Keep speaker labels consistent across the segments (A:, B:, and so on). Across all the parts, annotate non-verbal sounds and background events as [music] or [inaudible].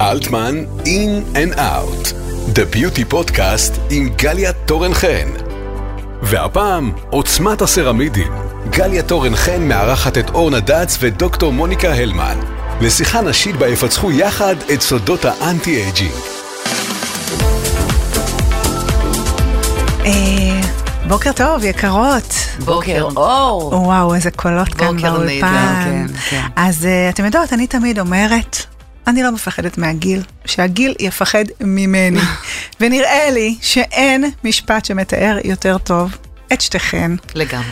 A: אלטמן, In and Out, The Beauty Podcast עם גליה תורן חן. והפעם, עוצמת הסרמידים. גליה תורן חן מארחת את אורנה דץ ודוקטור מוניקה הלמן. לשיחה נשית בה יפצחו יחד את סודות האנטי-אייג'ינג.
B: אה, בוקר טוב, יקרות.
C: בוקר אור.
B: וואו, איזה קולות כאן
C: בוקר
B: באולפן.
C: נהדר, כן, כן.
B: אז אה, אתם יודעות, אני תמיד אומרת, אני לא מפחדת מהגיל, שהגיל יפחד
C: [laughs]
B: ממני. ונראה לי שאין משפט שמתאר יותר טוב את שתיכן.
C: לגמרי.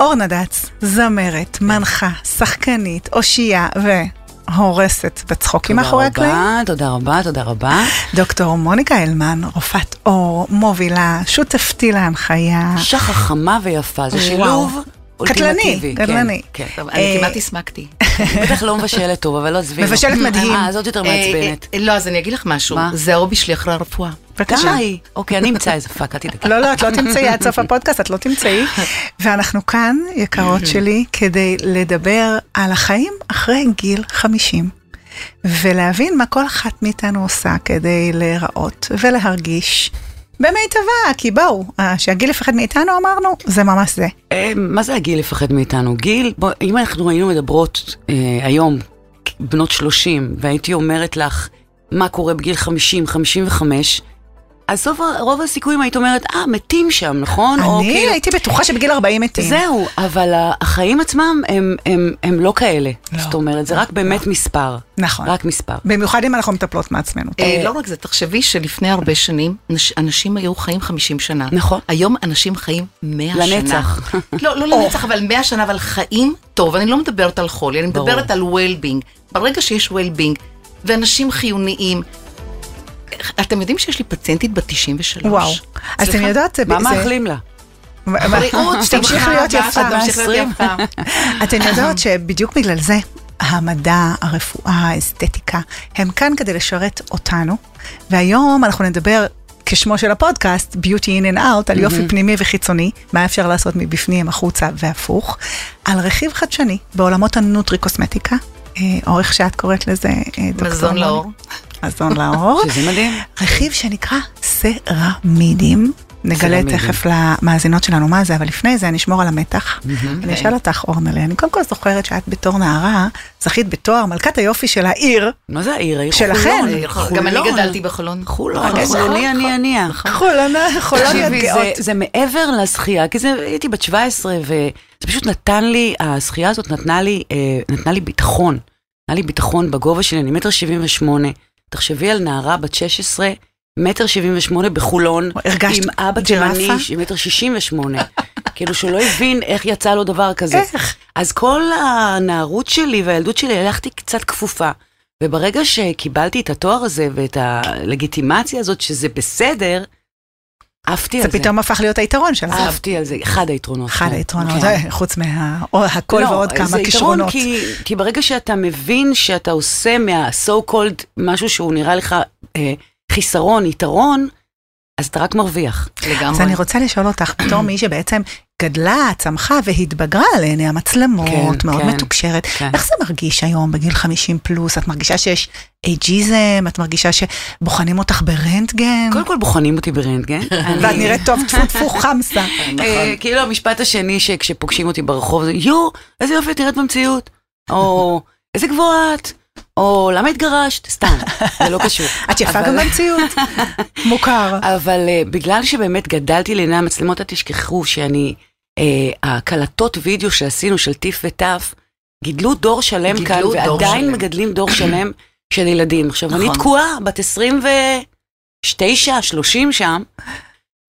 B: אורנה דץ,
C: כן.
B: זמרת, מנחה, שחקנית, אושייה והורסת בצחוקים מאחורי הקלעים.
C: תודה רבה, תודה רבה.
B: דוקטור מוניקה הלמן, רופאת אור, מובילה, שותפתי להנחיה.
C: שחה חמה ויפה, זה
B: וואו.
C: שילוב
B: קטלני,
C: אולטימטיבי. כן,
B: קטלני.
C: כן.
D: טוב,
B: אה,
D: אני כמעט הסמקתי.
C: אני בטח לא מבשלת טוב, אבל לא עזבי.
B: מבשלת מדהים.
C: אה, זאת יותר מעצבנת.
D: אה, אה, לא, אז אני אגיד לך משהו.
C: מה?
D: זה ההובי שלי אחרי הרפואה.
B: בבקשה.
C: די. אוקיי, אני אמצא איזה פאק, אל תדאגי.
B: לא, לא, את לא תמצאי עד סוף הפודקאסט, את לא תמצאי. ואנחנו כאן, יקרות שלי, כדי לדבר על החיים אחרי גיל 50. ולהבין מה כל אחת מאיתנו עושה כדי להיראות ולהרגיש במיטבה, כי בואו, אה, שהגיל יפחד מאיתנו אמרנו, זה ממש זה.
C: אה, מה זה הגיל לפחד מאיתנו? גיל, בוא, אם אנחנו היינו מדברות אה, היום, בנות 30, והייתי אומרת לך מה קורה בגיל 50, 55, אז סוף, ה- רוב הסיכויים היית אומרת, אה, מתים שם, נכון? או
B: אני
C: כאילו-
B: הייתי בטוחה שבגיל 40 מתים.
C: זהו, אבל ה- החיים עצמם הם, הם, הם לא כאלה.
B: לא.
C: זאת אומרת, זה רק באמת מספר.
B: נכון.
C: רק מספר.
B: במיוחד אם אנחנו מטפלות מעצמנו.
D: אה, לא רק זה, תחשבי שלפני הרבה שנים, נש- אנשים היו חיים 50 שנה.
C: נכון.
D: היום אנשים חיים 100 שנה.
C: לנצח.
D: [laughs] לא, לא לנצח, אבל 100 שנה, אבל חיים טוב. אני לא מדברת על חולי, אני
C: ברור.
D: מדברת על well-being. ברגע שיש well-being, ואנשים חיוניים, אתם יודעים שיש לי פציינטית בת 93.
B: וואו. אז אתם
D: סליחה?
B: יודעות, זה... זה-
C: מה
B: [laughs]
C: מאחלים לה?
D: בריאות,
B: תמשיך
D: שמחה,
B: להיות
D: ואף
B: יפה.
D: אחד תמשיך להיות יפה.
B: אתן יודעות שבדיוק בגלל זה המדע, הרפואה, האסתטיקה, הם כאן כדי לשרת אותנו. והיום אנחנו נדבר, כשמו של הפודקאסט, Beauty in and Out, על יופי
D: Mm-hmm.
B: פנימי וחיצוני, מה אפשר לעשות מבפנים, החוצה והפוך, על רכיב חדשני בעולמות הנוטרי קוסמטיקה, אה, או איך שאת קוראת לזה, אה, דוקטור.
D: מזון
B: מוני.
D: לאור.
B: מזון לאור.
C: שזה מדהים.
B: רכיב שנקרא סרמידים. נגלה
C: סרמידים.
B: תכף למאזינות שלנו מה זה, אבל לפני זה נשמור על המתח.
C: כן.
B: אני אשאל אותך, אורנלה, אני קודם כל זוכרת שאת בתור נערה זכית בתואר מלכת היופי של העיר,
C: מה זה העיר? העיר
B: שלכם.
C: חולון.
D: אה, גם אני
C: חולון.
D: גדלתי בחולון.
C: חולון.
D: נכון, נכון,
C: חולוני, אני, אני.
B: חולונה, חולוניות
C: תקשיבי, זה-
B: לא גאות.
C: זה מעבר לזכייה, כי זה, הייתי בת 17, וזה פשוט נתן לי, הזכייה הזאת נתנה לי, אה, נתנה לי ביטחון. נתנה לי ביטחון בגובה שלי, אני מטר 78. תחשבי על נערה בת 16, מטר 78 בחולון,
B: הרגשת
C: עם אבא
B: ג'ירפה?
C: תימני, עם מטר 68. [laughs] כאילו שהוא לא הבין איך יצא לו דבר כזה.
B: איך?
C: אז כל הנערות שלי והילדות שלי הלכתי קצת כפופה. וברגע שקיבלתי את התואר הזה ואת הלגיטימציה הזאת שזה בסדר, עפתי על
B: זה
C: זה.
B: פתאום הפך להיות היתרון שלך.
C: עפתי על זה, אחד היתרונות.
B: אחד
C: כן.
B: היתרונות,
C: כן.
B: [laughs] אה, חוץ מהכל
C: לא,
B: ועוד
C: זה
B: כמה
C: יתרון,
B: כישרונות.
C: כי, כי ברגע שאתה מבין שאתה עושה מה-so called משהו שהוא נראה לך אה, חיסרון, יתרון, אז אתה רק מרוויח.
B: אז
D: לגמרי.
B: אני רוצה לשאול אותך, בתור מי שבעצם גדלה, צמחה והתבגרה על עיני המצלמות,
C: כן,
B: מאוד
C: כן.
B: מתוקשרת,
C: כן.
B: איך זה מרגיש היום בגיל 50 פלוס? את מרגישה שיש אייג'יזם? את מרגישה שבוחנים אותך ברנטגן?
C: קודם כל בוחנים אותי ברנטגן.
B: [laughs] ואת
C: אני-
B: נראית טוב, טפו טפו חמסה.
C: אה, כאילו המשפט השני שכשפוגשים אותי ברחוב זה יואו, איזה יופי את נראית במציאות, או איזה גבוהה את, או למה התגרשת, סתם, זה לא קשור.
B: את יפה
C: אבל-
B: גם
C: [laughs]
B: במציאות, מוכר.
C: אבל אה, בגלל שבאמת גדלתי לעיני המצלמות, אל תשכחו שאני, אה, הקלטות וידאו שעשינו של טיף וטף, גידלו דור שלם
D: גידלו
C: כאן,
D: דור
C: ועדיין
D: שלם.
C: מגדלים דור שלם של ילדים. עכשיו, אני
D: נכון.
C: תקועה, בת 29, 30 שם,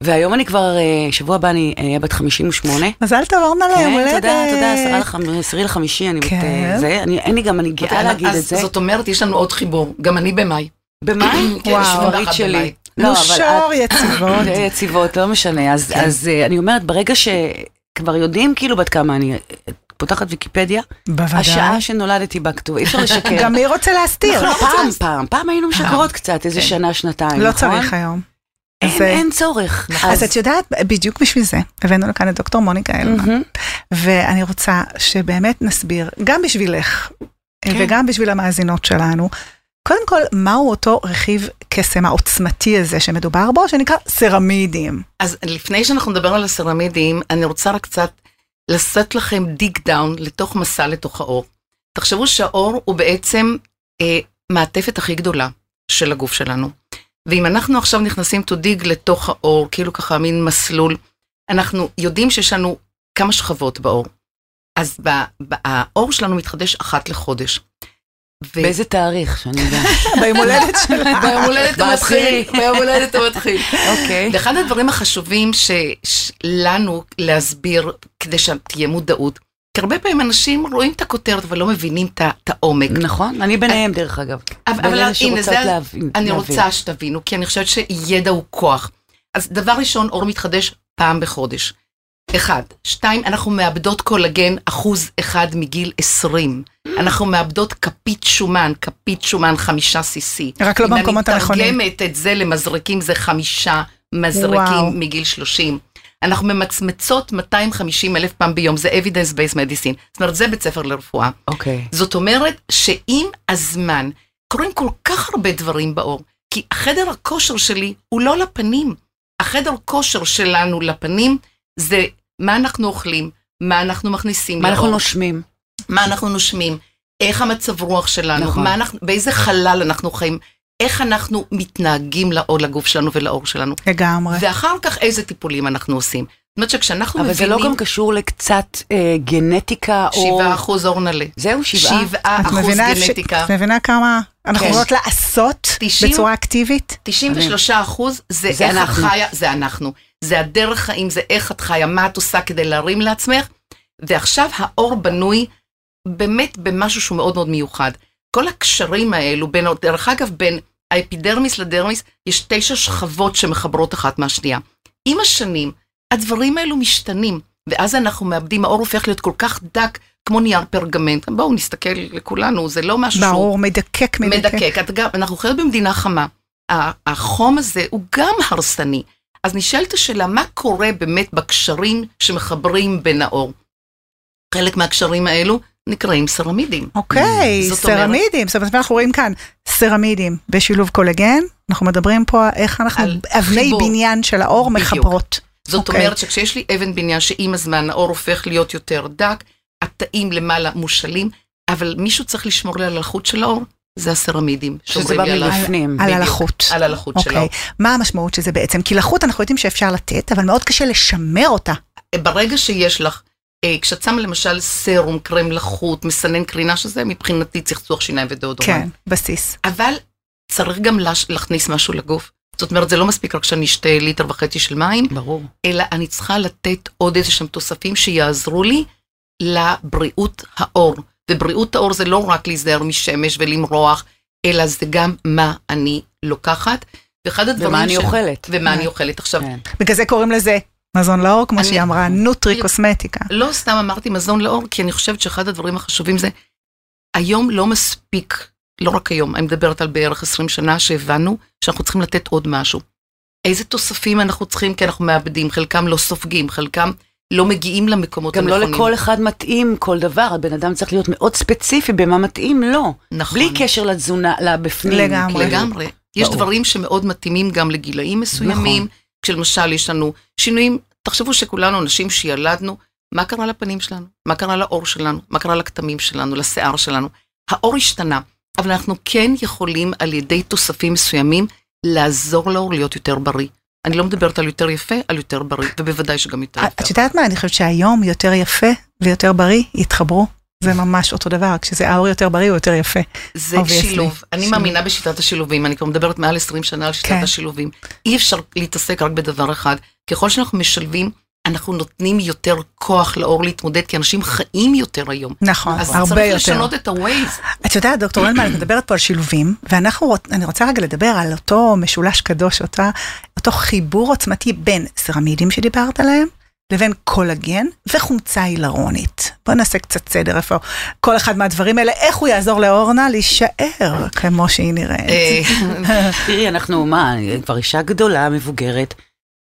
C: והיום אני כבר, אה, שבוע הבא אני אהיה בת 58.
B: מזל טוב, אורנה ליום
C: כן,
B: הולדת.
C: תודה, תודה, עשרה לחמ- עשרי לחמישי, אני בת...
B: כן.
C: אה, זה, אני- אין לי גם, אני גאה
D: אז-
C: להגיד את זה.
D: זאת אומרת, יש לנו עוד חיבור. גם אני במאי.
C: במאי?
D: כן,
C: וואו,
D: 21
C: שמרית שלי.
D: במאי.
C: לא, אבל את-
B: נושור יציבות.
C: אה, יציבות, לא משנה. אז- אז אה, אני אומרת, ברגע שכבר יודעים כאילו בת כמה אני, אה, פותחת ויקיפדיה,
B: בוודאי.
C: [laughs] השעה שנולדתי בה כתובה, אי אפשר לשקר.
B: גם מי רוצה להסתיר?
C: לא, פעם, פעם, פעם היינו משקרות קצת, איזה שנה, שנתיים, נכון?
B: לא צריך היום.
C: אין-
B: זה- נכון.
C: אין צורך.
B: אז את יודעת, בדיוק בשביל זה הבאנו לכאן את דוקטור מוניקה אלמן,
C: מהמם.
B: ואני רוצה שבאמת נסביר, גם בשבילך,
C: כן.
B: וגם בשביל המאזינות שלנו, קודם כל, מהו אותו רכיב קסם העוצמתי הזה שמדובר בו, שנקרא
D: [laughs]
B: סרמידים.
D: אז לפני שאנחנו נדבר על הסרמידים, אני רוצה רק קצת לשאת לכם דיג דאון לתוך מסע לתוך האור. תחשבו שהאור הוא בעצם אה, מעטפת הכי גדולה של הגוף שלנו. ואם אנחנו עכשיו נכנסים to dig לתוך האור, כאילו ככה מין מסלול, אנחנו יודעים שיש לנו כמה שכבות באור. אז ב, ב, האור שלנו מתחדש אחת לחודש. ו-
C: באיזה תאריך, שאני יודעת.
B: ביום הולדת שלך.
D: ביום הולדת
C: בעשירי.
D: המתחיל, ביום הולדת המתחיל.
C: אוקיי.
D: ואחד הדברים החשובים שלנו להסביר, כדי שתהיה מודעות, כי הרבה פעמים אנשים רואים את הכותרת אבל לא מבינים את ה- את העומק.
C: נכון, אני ביניהם דרך אגב.
D: אבל-
C: בין
D: אבל
C: אלה
D: הנה,
C: שרוצות
D: זה-
C: להבין-
D: אני
C: להבין.
D: רוצה שתבינו, כי אני חושבת שידע הוא כוח. אז דבר ראשון, אור מתחדש פעם בחודש. אחד. שתיים, אנחנו מאבדות קולגן אחוז אחד מגיל 20. אנחנו מאבדות כפית שומן, כפית שומן חמישה cc.
B: רק לא במקומות הנכונים.
D: אם אני מתרגמת את זה למזרקים, זה חמישה מזרקים
B: וואו.
D: וואו. מגיל 30. אנחנו ממצמצות 250 אלף פעם ביום, זה evidence based medicine. זאת אומרת, זה בית ספר לרפואה.
C: אוקיי.
D: זאת אומרת שעם הזמן קורים כל כך הרבה דברים באור, כי החדר הכושר שלי הוא לא לפנים. החדר כושר שלנו לפנים זה מה אנחנו אוכלים, מה אנחנו מכניסים
C: מה אנחנו
D: לאור,
C: נושמים?
D: מה אנחנו נושמים, איך המצב רוח שלנו,
C: נכון.
D: מה אנחנו, באיזה חלל אנחנו חיים, איך אנחנו מתנהגים לאור, לגוף שלנו ולאור שלנו,
B: לגמרי.
D: ואחר כך איזה טיפולים אנחנו עושים. זאת אומרת שכשאנחנו
C: אבל זה
D: מבינים...
C: לא גם קשור לקצת אה, גנטיקה או...
D: שבעה אחוז אור נלה.
C: זהו, שבעה?
D: שבעה
B: את
D: אחוז
B: מבינה, אפשר-
D: גנטיקה.
B: את מבינה כמה אנחנו
D: כן.
B: יכולות לעשות
D: 90?
B: בצורה אקטיבית?
D: 93 אחוז זה
C: זה
D: איך
C: אנחנו.
D: את חיה, זה אנחנו. זה הדרך חיים, זה איך את חיה, מה את עושה כדי להרים לעצמך. ועכשיו האור בנוי באמת במשהו שהוא מאוד מאוד מיוחד. כל הקשרים האלו, בין, דרך אגב, בין האפידרמיס לדרמיס, יש תשע שכבות שמחברות אחת מהשנייה. עם השנים, הדברים האלו משתנים, ואז אנחנו מאבדים, האור הופך להיות כל כך דק, כמו נייר פרגמנט. בואו נסתכל לכולנו, זה לא משהו שהוא...
B: ברור, מדקק, מדקק.
D: מדקק. את גם, אנחנו חיות במדינה חמה. ה- החום הזה הוא גם הרסני. אז נשאלת השאלה, מה קורה באמת בקשרים שמחברים בין האור? חלק מהקשרים האלו נקראים סרמידים.
B: אוקיי,
D: זאת אומרת-
B: סרמידים, זאת אומרת, אנחנו רואים כאן סרמידים בשילוב קולגן, אנחנו מדברים פה איך אנחנו,
D: על
B: אבני
D: חיבור.
B: בניין של האור
D: בדיוק.
B: מחברות.
D: זאת okay.
B: אוקיי.
D: אומרת שכשיש לי אבן בניין שעם הזמן האור הופך להיות יותר דק, התאים למעלה מושאלים, אבל מישהו צריך לשמור לי על הלחות של האור, זה הסרמידים.
C: שזה
D: שומרים
C: בא
D: לי על ה-
C: מבפנים.
B: על
D: בדיוק,
B: הלחות.
D: על הלחות של
B: אוקיי,
D: האור.
B: מה המשמעות של זה בעצם? כי לחות אנחנו יודעים שאפשר לתת, אבל מאוד קשה לשמר אותה.
D: ברגע שיש לך, אה, כשאת שמה למשל סרום, קרם לחות, מסנן קרינה, שזה מבחינתי צחצוח שיניים ודאודורנט.
B: כן, בסיס.
D: אבל צריך גם לש- להכניס משהו לגוף. זאת אומרת, זה לא מספיק רק שאני אשתה ליטר וחצי של מים,
C: ברור.
D: אלא אני צריכה לתת עוד איזה שהם תוספים שיעזרו לי לבריאות האור. ובריאות האור זה לא רק להיזהר משמש ולמרוח, אלא זה גם מה אני לוקחת. ואחד הדברים
C: ומה אני
D: ש-
C: אוכלת.
D: ומה אני אוכלת. עכשיו,
C: כן.
B: בגלל זה קוראים לזה מזון לאור, כמו
D: אני-
B: שהיא אמרה, נוטרי קוסמטיקה.
D: לא סתם אמרתי מזון לאור, כי אני חושבת שאחד הדברים החשובים זה, היום לא מספיק, לא רק היום, אני מדברת על בערך 20 שנה שהבנו שאנחנו צריכים לתת עוד משהו. איזה תוספים אנחנו צריכים, כי אנחנו מאבדים, חלקם לא סופגים, חלקם לא מגיעים למקומות
C: גם לא
D: הנכונים.
C: לכל אחד מתאים כל דבר, הבן אדם צריך להיות מאוד ספציפי במה מתאים לו.
D: נכון.
C: בלי קשר לתזונה, לבפנים.
B: לגמרי. נכון.
C: כאילו.
D: לגמרי. יש
C: ברור.
D: דברים שמאוד מתאימים גם לגילאים מסוימים, כשלמשל יש לנו שינויים, תחשבו שכולנו נשים שילדנו, מה קרה לפנים שלנו? מה קרה לעור שלנו? מה קרה לכתמים שלנו? לשיער שלנו? העור השתנה, אבל אנחנו כן יכולים על ידי תוספים מסוימים לעזור לעור להיות יותר בריא. אני לא מדברת על יותר יפה, על יותר בריא, ובוודאי שגם יותר
B: אה, את
D: יפה.
B: יודעת מה? אני חושבת שהיום יותר יפה ויותר בריא יתחברו. זה ממש אותו דבר, כשזה האור יותר בריא הוא יותר יפה.
D: זה
B: obviously.
D: שילוב. אני
B: שילוב.
D: מאמינה בשיטת השילובים, אני כבר מדברת מעל 20 שנה על שיטת
B: כן.
D: השילובים. אי אפשר להתעסק רק בדבר אחד. ככל שאנחנו משלבים, אנחנו נותנים יותר כוח לאור להתמודד, כי אנשים חיים יותר היום.
B: נכון,
D: אז
B: הרבה
D: צריך
B: יותר.
D: לשנות את ה-Waze.
B: [laughs] את יודעת, דוקטור רנמן, את מדברת פה על שילובים, ואנחנו, רוצ- אני רוצה רגע לדבר על אותו משולש קדוש, אותה, אותו חיבור עוצמתי בין סרמידים שדיברת עליהם, לבין קולגן וחומצה הילרונית. בואו נעשה קצת סדר איפה כל אחד מהדברים האלה, איך הוא יעזור לאורנה להישאר כמו שהיא
D: אה,
B: נראית.
C: תראי, אנחנו, מה, אני כבר אישה גדולה, מבוגרת.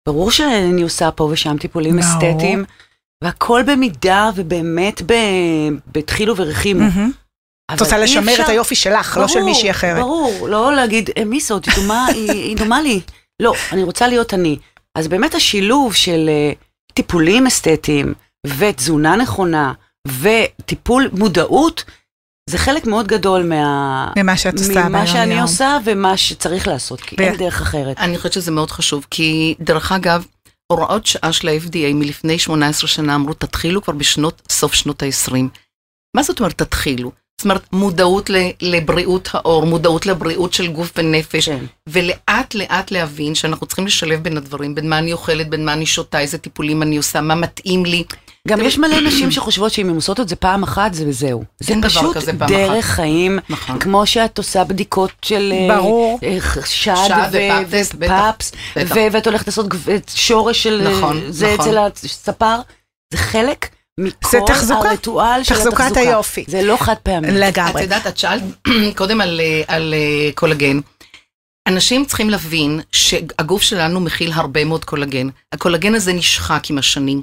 C: ברור שאני עושה פה ושם טיפולים
B: ברור.
C: אסתטיים, והכל במידה ובאמת ב- בדחילו ורחימו.
B: מהמם. את רוצה
C: אי
B: לשמר
C: אפשר-
B: את היופי שלך, לא של
C: ברור,
B: מישהי אחרת.
C: ברור, לא להגיד, "אה, מי זאת, היא דומה, היא, היא דומה לי. לא, אני רוצה להיות אני. אז באמת השילוב של אה, טיפולים אסתטיים ותזונה נכונה וטיפול מודעות, זה חלק מאוד גדול מה...
B: ממה שאת עושה ביום-יום.
C: ממה שאני עושה ומה שצריך לעשות, כי
B: ב-
C: אין דרך אחרת.
D: אני חושבת שזה מאוד חשוב, כי דרך אגב, הוראות שעה של ה-FDA מלפני 18 שנה אמרו, תתחילו כבר בשנות, סוף שנות ה-20. מה זאת אומרת תתחילו? זאת אומרת, מודעות ל- לבריאות האור, מודעות לבריאות של גוף ונפש,
C: כן.
D: ולאט לאט להבין שאנחנו צריכים לשלב בין הדברים, בין מה אני אוכלת, בין מה אני שותה, איזה טיפולים אני עושה, מה מתאים לי.
C: גם
D: אתם-
C: יש מלא נשים שחושבות שאם הן עושות את זה פעם אחת, זה וזהו. זה
D: אין דבר
C: פשוט
D: כזה פעם
C: דרך
D: אחת.
C: חיים,
D: נכון.
C: כמו שאת עושה בדיקות של אה,
B: ברור.
C: אה, ח- שד
D: שד
C: ו-
D: ופאפס, בטח,
C: ופאפס,
D: בטח.
C: ו- ואת הולכת לעשות גב- את שורש של אה,
D: נכון,
C: זה
D: נכון.
C: אצל הספר, זה חלק מכל
B: זה תחזוקה.
C: הריטואל של
B: תחזוקת
C: התחזוקה.
B: היופי.
C: זה לא חד פעמי.
B: לגמרי.
D: את יודעת, את שאלת [clears throat] קודם על, אה, על אה, קולגן. אנשים צריכים להבין שהגוף שלנו מכיל הרבה מאוד קולגן. הקולגן הזה נשחק עם השנים.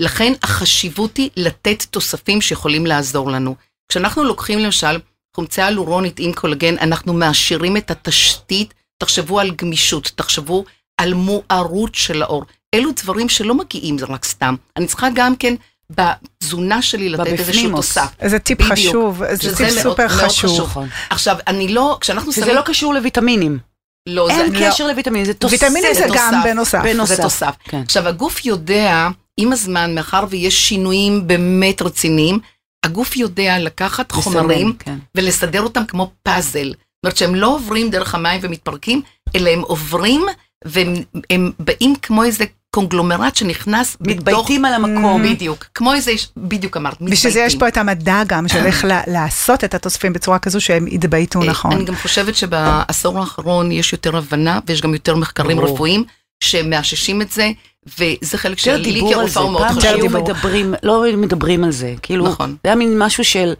D: לכן החשיבות היא לתת תוספים שיכולים לעזור לנו. כשאנחנו לוקחים למשל חומצה הלורונית עם קולגן, אנחנו מעשירים את התשתית. תחשבו על גמישות, תחשבו על מוארות של האור. אלו דברים שלא מגיעים רק סתם. אני צריכה גם כן בתזונה שלי לתת איזשהו
C: בבפנימוס.
D: תוסף.
B: זה טיפ
D: בדיוק.
B: חשוב, זה
D: שזה
B: טיפ
D: מאוד-
B: סופר
D: מאוד
B: חשוב.
C: נכון.
D: עכשיו, אני לא, כשאנחנו
C: שזה לא קשור לויטמינים.
D: לא,
C: אין
D: זה,
C: קשר לויטמינים, זה תוספת.
B: ויטמינים זה גם
D: תוסף.
B: בנוסף.
D: לא,
C: בנוסף.
D: זה תוסף.
C: כן.
D: עכשיו, הגוף יודע, עם הזמן, מאחר ויש שינויים באמת רציניים, הגוף יודע לקחת חומרים
C: מסמנים, כן.
D: ולסדר אותם כמו פאזל. זאת אומרת שהם לא עוברים דרך המים ומתפרקים, אלא הם עוברים והם הם באים כמו איזה קונגלומרט שנכנס בתוך...
C: מתבייתים על המקום.
D: בדיוק, כמו איזה, בדיוק אמרת, מתבייתים.
B: בשביל זה יש פה את המדע גם של איך ל- לעשות את התוספים בצורה כזו שהם יתבייתו
D: אה,
B: נכון.
D: אני גם חושבת שבעשור האחרון יש יותר הבנה ויש גם יותר מחקרים
C: ברור.
D: רפואיים שמאששים את זה, וזה חלק
C: יותר
D: שלי
C: דיבור על זה,
D: כרופאה הוא מאוד
C: פעם
D: חשוב.
C: שהיו
B: דיבור.
C: מדברים, לא מדברים על זה, כאילו,
D: נכון.
C: זה היה מין משהו של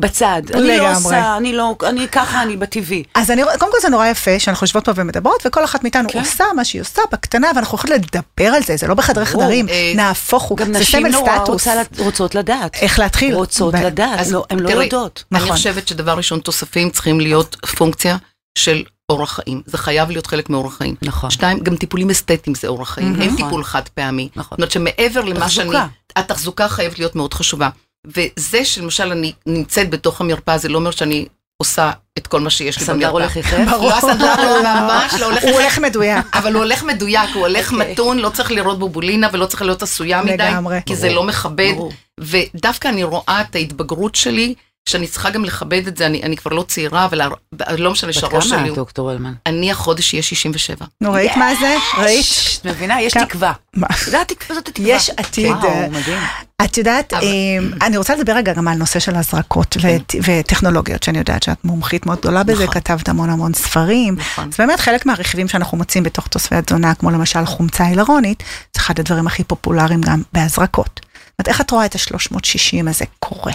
C: בצד, אני לא
B: לגמרי.
C: עושה, אני לא, אני ככה, אני בטבעי.
B: אז אני, רואה- קודם כל זה נורא יפה שאנחנו יושבות פה ומדברות, וכל אחת מאיתנו
C: כן.
B: כן. עושה מה שהיא עושה בקטנה, ואנחנו יכולות לדבר על זה, זה לא בחדרי
C: ברור.
B: חדרים,
D: אה,
B: נהפוך הוא,
C: גם
B: זה
C: נשים
B: סמל
C: נורא
B: סטטוס.
C: רוצה לד- רוצות לדעת.
B: איך להתחיל.
C: רוצות
B: ב- [laughs]
C: לדעת,
D: אז
C: לא, הן לא
D: תראי,
C: יודעות.
D: אני
B: נכון.
D: חושבת שדבר ראשון, תוספים צריכים להיות פונקציה של אורח חיים. זה חייב להיות חלק מאורח חיים.
C: נכון.
D: שתיים, גם טיפולים אסתטיים זה אורח חיים,
C: Mhm.
D: אין
C: נכון.
D: טיפול חד פעמי.
C: נכון.
D: זאת אומרת שמעבר למה שאני...
C: תחזוקה.
D: התחזוקה חייבת להיות מאוד חשובה. וזה שלמשל אני נמצאת בתוך המרפאה, זה לא אומר שאני עושה את כל מה שיש לי במרפאה.
C: הסנדר הולך יחף?
D: [laughs] ברור. לא, הסנדר לא, ממש לא הולך
B: הוא הולך מדויק.
D: אבל הוא הולך מדויק, הוא הולך
C: אוקיי.
D: מתון, לא צריך לראות בובולינה ולא צריך להיות עשויה מדי,
B: לגמרי.
D: כי זה
C: ברור.
D: לא מכבד.
C: ברור.
D: ודווקא אני רואה את ההתבגרות שלי, שאני צריכה גם לכבד את זה, אני, אני כבר לא צעירה, אבל הר- לא משנה
C: בת
D: שהראש
C: כמה
D: שלי,
C: את,
D: הוא-
C: דוקטור אלמן?
D: אני החודש אהיה 67.
B: נו,
D: [laughs]
B: ראית מה זה? ראית?
C: ש- את מבינה? יש
B: כמה-
C: תקווה.
B: מה?
C: זה התקווה, זאת התקווה.
B: יש עתיד. אה,
C: וואו, מדהים.
B: את יודעת,
D: אבל- כן.
B: אה, אני רוצה לדבר רגע גם על נושא של הזרקות וט- וטכנולוגיות, שאני יודעת שאת מומחית מאוד גדולה בזה,
D: נכון.
B: כתבת המון המון ספרים.
D: נכון.
B: אז באמת חלק מהרכיבים שאנחנו מוצאים בתוך תוספי התזונה, כמו למשל חומצה הילרונית, זה אחד הדברים הכי פופולריים גם בהזרקות. זאת אומרת, איך את רואה את ה-360 הזה קורה?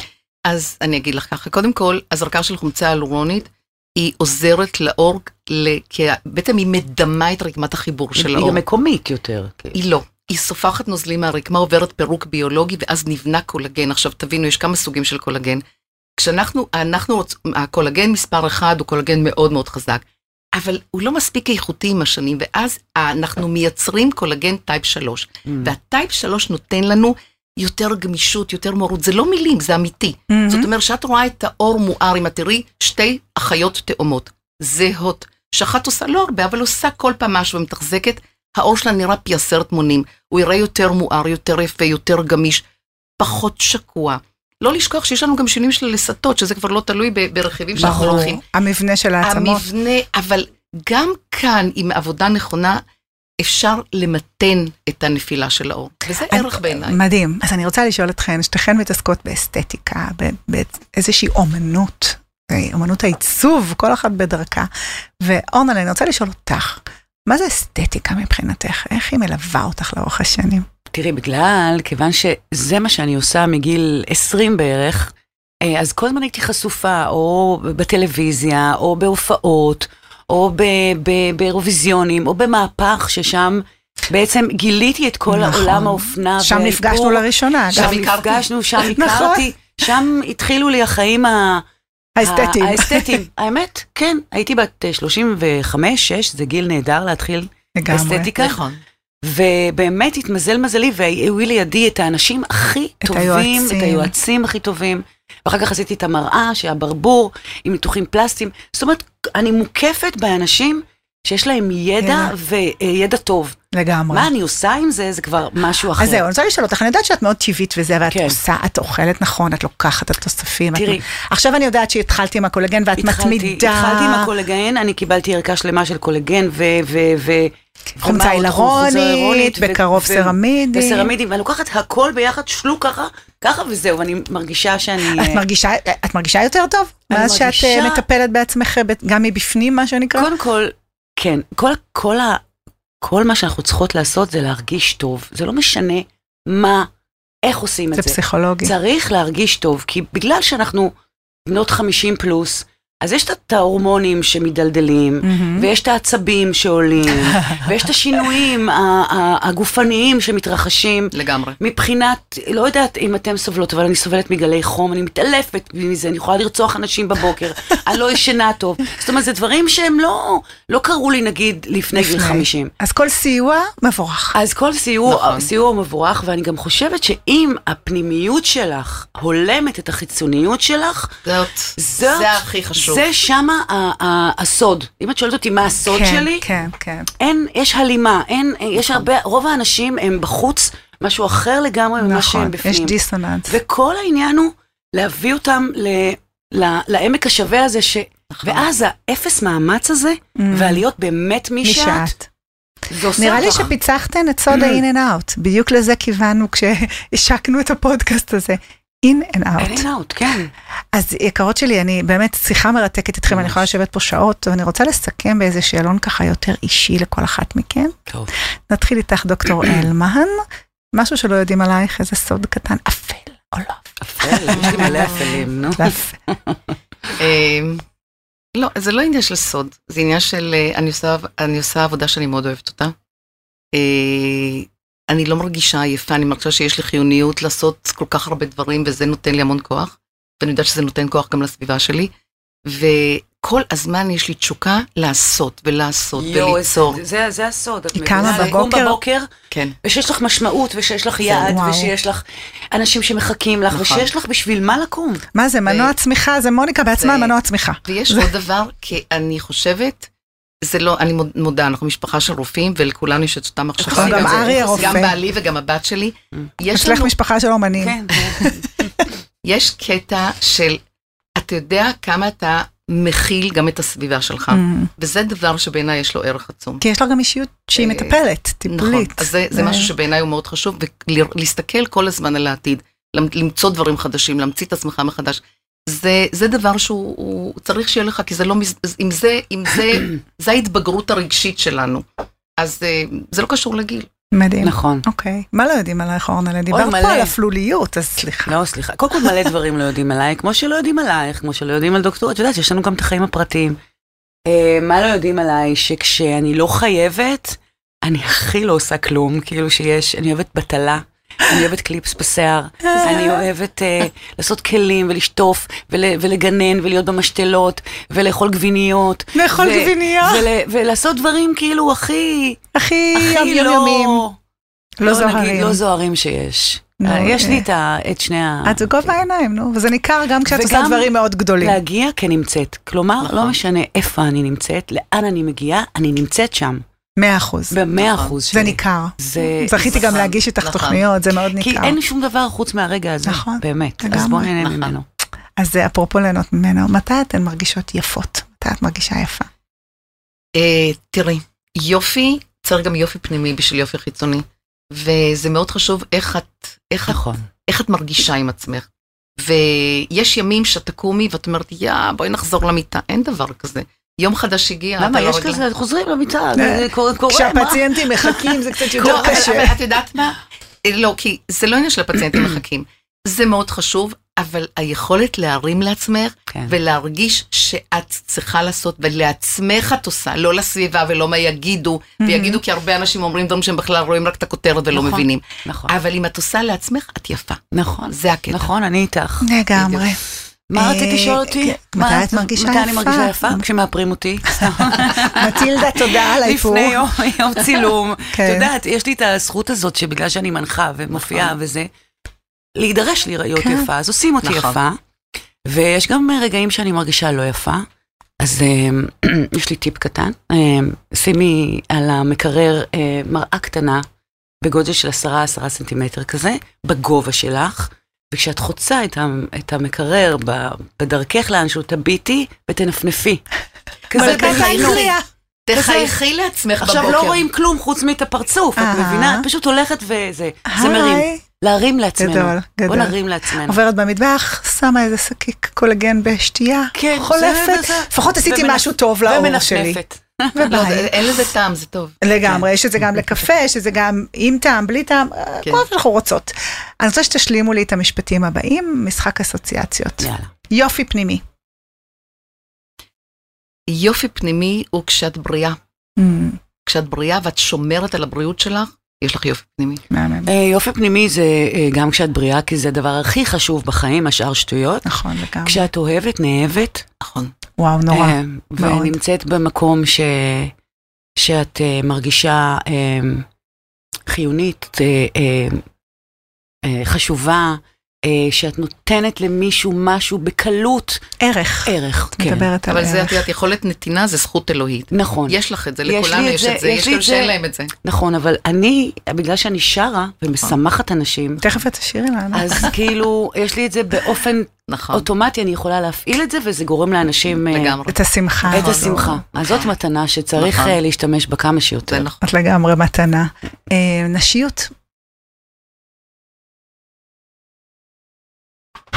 D: אז אני אגיד לך ככה, קודם כל, הזרקה של חומצה הלורונית, היא עוזרת לאור, ל- כי בעצם היא מדמה את רקמת החיבור של
C: היא
D: האור.
C: גם מקומית יותר. כאילו.
D: היא לא. היא סופחת נוזלים מהרקמה, עוברת פירוק ביולוגי, ואז נבנה קולגן. עכשיו, תבינו, יש כמה סוגים של קולגן. כשאנחנו, אנחנו, רוצ- הקולגן מספר אחד הוא קולגן מאוד מאוד חזק, אבל הוא לא מספיק איכותי עם השנים, ואז אה, אנחנו מייצרים קולגן טייפ 3. והטייפ 3 נותן לנו יותר גמישות, יותר מורות. זה לא מילים, זה אמיתי.
B: Mm-hmm.
D: זאת אומרת שאת רואה את האור מואר, אם את תראי שתי אחיות תאומות, זהות, שאחת עושה לא הרבה, אבל עושה כל פעם משהו ומתחזקת, האור שלה נראה פי עשרת מונים, הוא יראה יותר מואר, יותר יפה, יותר גמיש, פחות שקוע. לא לשכוח שיש לנו גם שינויים של לסתות, שזה כבר לא תלוי ב- ברכיבים שאנחנו
B: ברור.
D: לוקחים.
B: המבנה של העצמות.
D: המבנה, אבל גם כאן, עם עבודה נכונה, אפשר למתן את הנפילה של האור, וזה
B: אני-
D: ערך בעיניי.
B: מדהים. אז אני רוצה לשאול אתכן, שתיכן מתעסקות באסתטיקה, ב- באיזושהי אומנות, אה, אומנות העיצוב, כל אחת בדרכה. ואורנה, אני רוצה לשאול אותך, מה זה אסתטיקה מבחינתך? איך היא מלווה אותך לאורך השנים?
C: תראי, בגלל, כיוון שזה מה שאני עושה מגיל 20 בערך, אה, אז כל הזמן הייתי חשופה, או בטלוויזיה, או בהופעות, או ב- ב- באירוויזיונים, או במהפך, ששם בעצם גיליתי את כל
B: נכון.
C: העולם האופנה.
B: שם
C: והאיפור.
B: נפגשנו לראשונה.
D: שם
C: שם
B: אגב.
D: הכרתי.
C: נפגשנו, שם
B: [laughs] נכון.
C: הכרתי, שם התחילו לי החיים ה- אה,
B: האסתטיים. [laughs]
C: האסתטיים, האמת, כן. הייתי בת 35-6, זה גיל נהדר להתחיל
B: לגמרי.
C: אסתטיקה.
D: נכון.
C: ובאמת התמזל מזלי, והיו לידי את האנשים הכי
B: את
C: טובים,
B: היועצים.
C: את היועצים הכי טובים. ואחר כך עשיתי את המראה, שהיה ברבור, עם ניתוחים פלסטיים. זאת אומרת, אני מוקפת באנשים שיש להם ידע וידע טוב.
B: לגמרי.
C: מה אני עושה עם זה, זה כבר משהו אחר.
B: אז זהו, אני רוצה לשאול אותך, אני יודעת שאת מאוד טבעית וזה, ואת
C: כן.
B: עושה, את אוכלת נכון, את לוקחת, את תוספים. את-
C: תראי.
B: עכשיו אני יודעת שהתחלת עם הקולגן ואת
C: התחלתי-
B: מתמידה.
C: התחלתי עם הקולגן, אני קיבלתי ערכה שלמה של קולגן ו... ו, ו
B: חומצה
C: ומה עוד?
B: הילרונית,
C: חומצה הילרונית, ו-
B: בקרוב
C: ו-
B: סרמידים.
C: וסרמידים, ואני לוקחת הכל ביחד, שלוק ככה, ככה וזהו, ואני מרגישה שאני...
B: את
C: אה,
B: מרגישה, את מרגישה יותר טוב?
C: אני
B: מאז שאת אה,
C: מרגישה-
B: מטפלת בעצמך, ב- גם מבפנים, מה שנקרא?
C: קודם כל, כן, כל, כל, ה, כל מה שאנחנו צריכות לעשות זה להרגיש טוב. זה לא משנה מה, איך עושים
B: זה
C: את זה.
B: פסיכולוגי.
C: צריך להרגיש טוב, כי בגלל שאנחנו בנות 50 פלוס, אז יש את ההורמונים שמדלדלים,
B: מהמם.
C: ויש את העצבים שעולים,
B: [laughs]
C: ויש את השינויים ה- ה- הגופניים שמתרחשים.
D: לגמרי.
C: מבחינת, לא יודעת אם אתם סובלות, אבל אני סובלת מגלי חום, אני מתעלפת מזה, אני יכולה לרצוח אנשים
B: [laughs]
C: בבוקר, אני לא ישנה טוב. זאת אומרת, זה דברים שהם לא, לא קרו לי נגיד לפני גיל
B: לפני.
C: 50.
B: אז כל סיוע מבורך.
C: אז כל סיור,
D: נכון.
C: נכון. סיור מבורך, ואני גם חושבת שאם הפנימיות שלך הולמת את החיצוניות שלך,
D: זאת,
C: זאת,
D: זה הכי חשוב.
C: זה שמה ה- ה- הסוד. אם את שואלת אותי מה הסוד
B: כן,
C: שלי,
B: כן, נכון. כן.
C: אין, יש הלימה, אין, יש הרבה, רוב האנשים הם בחוץ, משהו אחר לגמרי ממה
B: נכון,
C: שהם בפנים.
B: יש דיסוננס.
C: וכל העניין הוא להביא אותם ל, ל, לעמק השווה הזה, ש...
B: נכון.
C: ואז האפס מאמץ הזה, והלהיות באמת מי
B: מי
C: שאת,
B: שאת.
C: זה עושה
B: Mm. נראה לי
C: אותך.
B: שפיצחתן את
C: [clears throat]
B: סוד ה-in and out. בדיוק לזה כיוונו כשהשקנו את הפודקאסט הזה. in and
C: אין
B: out.
C: אין אאוט, כן.
B: אז יקרות שלי, אני באמת שיחה מרתקת איתכם, אני
C: ממש.
B: יכולה לשבת פה שעות, ואני רוצה לסכם באיזה שאלון ככה יותר אישי לכל אחת מכן.
C: טוב.
B: נתחיל איתך, דוקטור אלמן. משהו שלא יודעים עלייך, איזה סוד קטן, אפל או לא
C: אפל, יש לי מלא אפלים, נו.
B: אפל.
D: אמ, לא, זה לא עניין של סוד, זה עניין של, אה, אני עושה, אני עושה עבודה שאני מאוד אוהבת אותה. אה, אני לא מרגישה עייפה, אני מרגישה שיש לי חיוניות לעשות כל כך הרבה דברים, וזה נותן לי המון כוח, ואני יודעת שזה נותן כוח גם לסביבה שלי, וכל הזמן יש לי תשוקה לעשות, ולעשות, וליצור.
C: זה- זה- זה הסוד. את
B: היא
C: מבינה?
B: קמה
C: לקום
B: בבוקר-
C: בבוקר,
B: [laughs]
D: כן,
C: ושיש לך משמעות, ושיש לך יעד,
B: וואו.
C: ושיש לך אנשים שמחכים לך,
D: נכון.
C: ושיש לך בשביל מה לקום.
B: מה זה, מנוע צמיחה, זה מוניקה בעצמה
D: זה-
B: מנוע צמיחה.
D: ויש עוד דבר, כי אני חושבת, זה לא, אני מוד- מודה, אנחנו משפחה של רופאים, ולכולנו יש את אותם מחשבים.
B: גם אריה
D: גם
B: רופא. Mm.
D: בעלי וגם הבת שלי. יש
B: אצלך
D: לנו
B: משפחה של אומנים.
C: כן.
D: יש קטע של, אתה יודע כמה אתה מכיל גם את הסביבה שלך,
B: Mm.
D: וזה דבר שבעיניי יש לו ערך עצום.
B: כי יש לה גם אישיות שהיא
D: אה,
B: מטפלת,
D: נכון,
B: טיפולית. אה,
D: אז זה, זה משהו שבעיניי הוא מאוד חשוב, ולהסתכל כל הזמן על העתיד, למ- למצוא דברים חדשים, להמציא את עצמך מחדש. זה, זה דבר שהוא הוא צריך שיהיה לך, כי זה לא, מז- אז אם זה, אם זה, זה ההתבגרות הרגשית שלנו. אז אה, זה לא קשור לגיל.
B: מדהים.
C: נכון.
B: אוקיי. מה לא יודעים עלייך, אורנה? דיברת
C: מלא.
B: פה על אפלוליות, אז סליחה.
C: לא, סליחה. קודם כל מלא דברים לא יודעים עליי, כמו שלא יודעים עלייך, כמו שלא יודעים על דוקטור, את יודעת שיש לנו גם את החיים הפרטיים. אה, מה לא יודעים עליי? שכשאני לא חייבת, אני הכי לא עושה כלום, כאילו שיש, אני אוהבת בטלה, אני אוהבת קליפס בשיער, אני אוהבת אה, לעשות כלים ולשטוף ול, ולגנן ולהיות במשתלות ולאכול גביניות.
B: לאכול
C: ו-
B: גבינייה.
C: ול, ולעשות דברים כאילו הכי,
B: הכי
C: הכי
B: יומיומיים.
C: לא,
B: לא
C: נגיד,
B: זוהרים.
C: לא זוהרים שיש.
B: נו,
C: אה, יש לי
B: אה.
C: את, ה, את שני ה...
B: את בגובה העיניים, נו, וזה ניכר גם כשאת עושה
C: וגם
B: דברים מאוד גדולים.
C: להגיע כנמצאת. כלומר,
D: נכון.
C: לא משנה איפה אני נמצאת, לאן אני מגיעה, אני נמצאת שם.
B: מאה אחוז.
C: במאה
D: נכון.
C: אחוז
B: זה
C: שלי.
B: ניכר.
C: זה...
B: זכיתי גם
D: נכון,
B: להגיש איתך
D: נכון.
B: תוכניות, זה מאוד
C: אה, כי
B: ניכר.
C: אין שום דבר חוץ מהרגע הזה.
B: נכון.
C: באמת. אז
B: לגמרי.
C: בואו נהנה
D: נכון.
C: ממנו.
B: אז זה אפרופו ליהנות ממנו, מתי אתן מרגישות יפות? מתי את מרגישה יפה?
D: אה, תראי, יופי, צריך גם יופי פנימי בשביל יופי חיצוני. וזה מאוד חשוב איך את, איך את
C: נכון.
D: איך את מרגישה עם עצמך. ויש ימים שאת תקומי ואת אומרת, יא, בואי נחזור למיטה. אין דבר כזה. יום חדש הגיע,
C: למה
D: אתה לא
C: יש
D: רגליים.
C: כזה, חוזרים למיטה,
B: אה,
C: זה קורה, קורה, מה?
B: כשהפציינטים מחכים זה קצת
D: לא,
B: יותר
D: אבל-
C: [laughs]
B: קשה.
D: אבל את יודעת מה? אה, לא, כי זה לא עניין של הפציינטים מחכים. זה מאוד חשוב, אבל היכולת להרים לעצמך
C: כן.
D: ולהרגיש שאת צריכה לעשות ולעצמך את עושה, לא לסביבה ולא מה יגידו, ויגידו כי הרבה אנשים אומרים דברים שהם בכלל רואים רק את הכותרת ולא
C: Mm-hmm. נכון.
D: מבינים.
C: נכון.
D: אבל אם את עושה לעצמך, את יפה.
C: נכון.
D: זה הקטע.
C: נכון, אני איתך.
B: לגמרי.
C: מה
B: אה,
C: רצית לשאול אותי?
B: כן,
C: מה
B: מתי
C: רצית-
B: את מרגישה
C: מתי אני
B: יפה?
C: מרגישה יפה?
B: [laughs]
C: כשמאפרים אותי.
B: מטילדה, תודה על האיפור.
C: לפני יום- יום
B: [laughs]
C: צילום.
B: כן.
C: את יודעת, יש לי את הזכות הזאת שבגלל שאני מנחה ומופיעה וזה, להידרש להיראות
B: נכון. כן.
C: יפה, אז עושים אותי
D: נכון.
C: יפה. ויש גם רגעים שאני מרגישה לא יפה, אז אה, [clears throat] יש לי טיפ קטן. אה, שימי על המקרר אה, מראה קטנה בגודל של 10-10 סנטימטר כזה, בגובה שלך, וכשאת חוצה את, המ- את המקרר ב- בדרכך לאנשהו, תביטי
B: [laughs]
C: ותנפנפי. כזה
B: מלכת
C: דהיינו.
B: האנגליה.
D: תחייכי לעצמך בבוקר.
C: עכשיו לא רואים כלום חוץ מאת הפרצוף, את
B: אהה.
C: מבינה? את פשוט הולכת וזה, זה מרים.
B: אה. היי,
C: להרים לעצמנו.
B: גדול,
C: בוא
B: גדול.
C: נרים לעצמנו.
B: עוברת במטבח, שמה איזה שקיק קולגן בשתייה,
C: כן,
B: חולפת,
C: זה- זה-
B: לפחות עשיתי
C: ומנפ-
B: משהו טוב לאור שלי.
C: ומנפנפת. כן.
D: לא, זה-
B: וביי.
D: אין לזה טעם, זה טוב.
B: לגמרי, יש את זה גם לקפה, יש את זה גם עם טעם, בלי טעם, אה,
D: כן.
B: כל מה שאנחנו רוצות. אני רוצה שתשלימו לי את המשפטים הבאים, משחק אסוציאציות.
C: יאללה.
B: יופי פנימי.
D: יופי פנימי הוא כשאת בריאה.
C: אה.
B: אמ,
D: כשאת בריאה ואת שומרת על הבריאות שלך, יש לך יופי פנימי.
B: מהמם,
C: אה, יופי פנימי זה אה, גם כשאת בריאה, כי זה הדבר הכי חשוב בחיים, השאר שטויות.
B: נכון לגמרי.
C: כשאת אוהבת, נאהבת.
D: נכון.
B: וואו, נורא.
C: אה,
B: מאוד.
C: ונמצאת במקום ש... שאת אה, מרגישה אה, חיונית, אה, אה, אה, חשובה, אה, שאת נותנת למישהו משהו בקלות,
B: ערך.
C: ערך,
B: את
C: כן.
B: מדברת על
D: אבל זה,
B: ערך.
D: את יודעת, יכולת נתינה זה זכות אלוהית.
C: נכון, יש...
D: יש לך את זה,
C: יש
D: לכולנו
C: לי את
D: יש
C: זה,
D: את זה,
C: יש
D: יש
C: לי
D: כאלה
C: את
D: שאין
C: זה.
D: להם את זה.
C: נכון, אבל אני, בגלל שאני שרה ומשמחת אנשים,
B: תכף את תשאירי לנו.
C: אז כאילו, יש לי את זה באופן
D: נכון,
C: אוטומטי, אני יכולה להפעיל את זה, וזה גורם לאנשים אה,
D: לגמרי.
B: את השמחה.
C: את השמחה. אז זאת מתנה שצריך
D: נכון.
C: אה, להשתמש בה כמה שיותר.
D: זה נכון.
B: את לגמרי מתנה. אה, נשיות.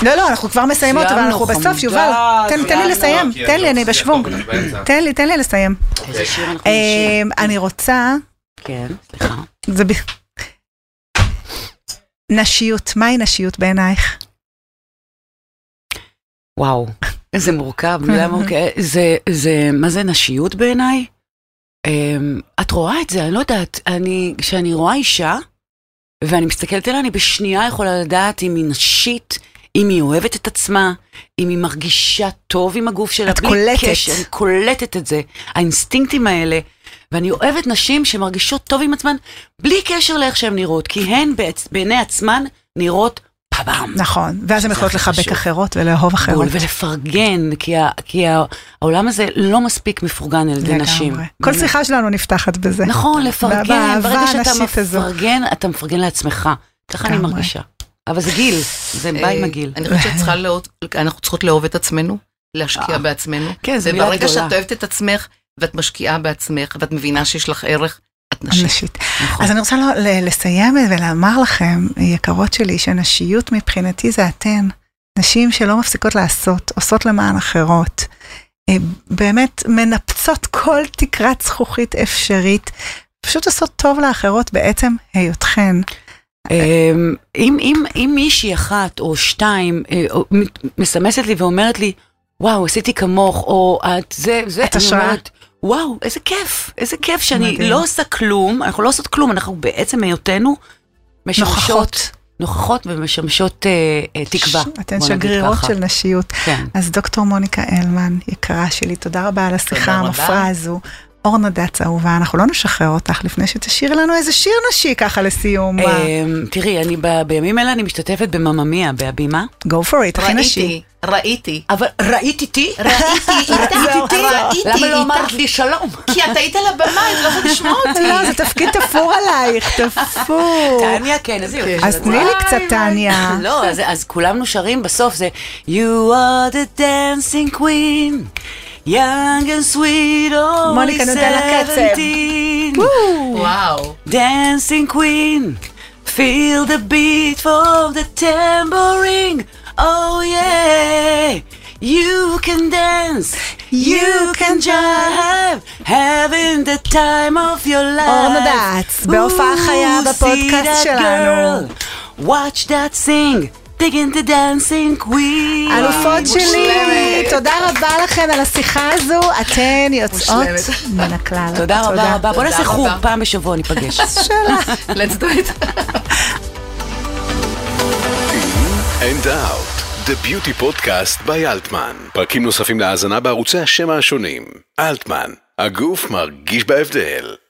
B: לא, לא, אנחנו כבר מסיימות, אבל
C: סיימנו, לא,
B: אנחנו בסוף,
C: חמודה,
B: יובל. תן תן לי
C: סיימנו.
B: לסיים,
E: כי
B: תן
E: אני
B: לי, אני
E: לא מצליח
B: בשוונג.
E: להוריד באמצע.
B: תן לי, תן לי לסיים.
C: איזה שיר אנחנו נשאיר.
B: אה, אני רוצה,
C: כן, סליחה.
B: זה ב... נשיות, מהי נשיות בעינייך?
C: וואו, איזה מורכב,
B: כן.
C: למה הוא כ- זה, זה, מה זה נשיות בעיניי? אמ, את רואה את זה, אני לא יודעת, אני, כשאני רואה אישה, ואני מסתכלת עליה, אני בשנייה יכולה לדעת אם היא נשית, אם היא אוהבת את עצמה, אם היא מרגישה טוב עם הגוף שלה,
B: את
C: בלי
B: קולטת.
C: קשר, אני קולטת את זה, האינסטינקטים האלה, ואני אוהבת נשים שמרגישות טוב עם עצמן, בלי קשר לאיך שהן נראות, כי הן בעצ- בעיני עצמן נראות פבאם.
B: נכון, ואז הן
C: שזה
B: יכולות
C: הכי
B: לחבק
C: חשוב.
B: אחרות ולאהוב
C: בול,
B: אחרות.
C: ולפרגן, כי, ה, כי ה, העולם הזה לא מספיק מפורגן על ידי
B: לגמרי.
C: נשים.
B: כל
C: באמת.
B: שיחה שלנו נפתחת בזה.
C: נכון, לפרגן,
B: באהבה
C: ברגע שאתה
B: הנשית הזו.
C: מפרגן, אתה מפרגן לעצמך. ככה אני
B: לגמרי.
C: מרגישה. אבל זה גיל, זה בא עם
D: אה,
C: הגיל.
D: אני חושבת שצריכה לאות- אנחנו צריכות לאהוב את עצמנו, להשקיע
C: אה.
D: בעצמנו.
C: כן, זו מילה
D: וברגע
C: גדולה.
D: שאת אוהבת את עצמך, ואת משקיעה בעצמך, ואת מבינה שיש לך ערך, את נשית.
B: נשית.
C: נכון.
B: אז אני רוצה לא- ל- לסיים ולומר לכם, יקרות שלי, שנשיות מבחינתי זה אתן. נשים שלא מפסיקות לעשות, עושות למען אחרות. אה, באמת מנפצות כל תקרת זכוכית אפשרית. פשוט עושות טוב לאחרות בעצם היותכן.
C: אמ, אם, אם, אם מישהי אחת או שתיים אה, או מ- מסמסת לי ואומרת לי, וואו, עשיתי כמוך, או את זה, זה,
B: את
C: אני
B: השראה.
C: אומרת, וואו, איזה כיף, איזה כיף שאני
B: מדהים.
C: לא עושה כלום, אנחנו לא עושות כלום, אנחנו בעצם היותנו משמשות,
B: נוכחות.
C: נוכחות ומשמשות אה, אה, תקווה.
B: אתן
C: בוא נגיד
B: שגרירות
C: ככה.
B: של נשיות.
C: כן.
B: אז דוקטור מוניקה אלמן, יקרה שלי, תודה רבה על השיחה
D: תודה רבה.
B: המפרה הזו. אורנה דץ אהובה, אנחנו לא נשחרר אותך לפני שתשאיר לנו איזה שיר נשי ככה לסיום.
C: אמ, תראי, אני ב- בימים אלה אני משתתפת במממיה, בהבימה,
B: Go for it, הכי נשי.
D: ראיתי, ראיתי.
C: [laughs] אבל ראית איתי?
D: ראיתי, איתה, ראיתי,
C: למה לא
D: איתה.
C: אמרת לי שלום?
D: כי את היית על הבמה, את לא יכולת לשמוע
C: [laughs]
B: לא, זה תפקיד תפור עלייך, תפור.
C: טניה, כן, איזה יופי.
B: אז
C: של
B: תני לי
C: הצעה.
B: קצת טניה.
C: לא, אז, אז כולנו שרים בסוף זה You are the dancing queen Young and sweet only
B: מוניקה נותן לה קצב.
C: seventeen
D: וואו.
C: Dancing queen Feel the beat of the tambourine Oh yeah You can dance You can jive Having the time of your life
B: אורנה דץ, בהופעה חיה
C: Ooh, see
B: בפודקאסט
C: that
B: שלנו.
C: girl. Watch that sing, digging the dancing queen.
B: אלופות שלי,
D: מושלמת.
B: תודה רבה לכן על השיחה הזו, אתן יוצאות
D: מושלמת.
B: מן הכלל.
C: תודה רבה רבה. בוא
D: תודה
C: נעשה חוג,
D: רבה.
C: פעם בשבוע
D: [laughs]
C: ניפגש.
D: let's do it.
A: And Out, The Beauty Podcast by אלטמן. פרקים נוספים להאזנה בערוצי השם השונים. אלטמן, הגוף מרגיש בהבדל.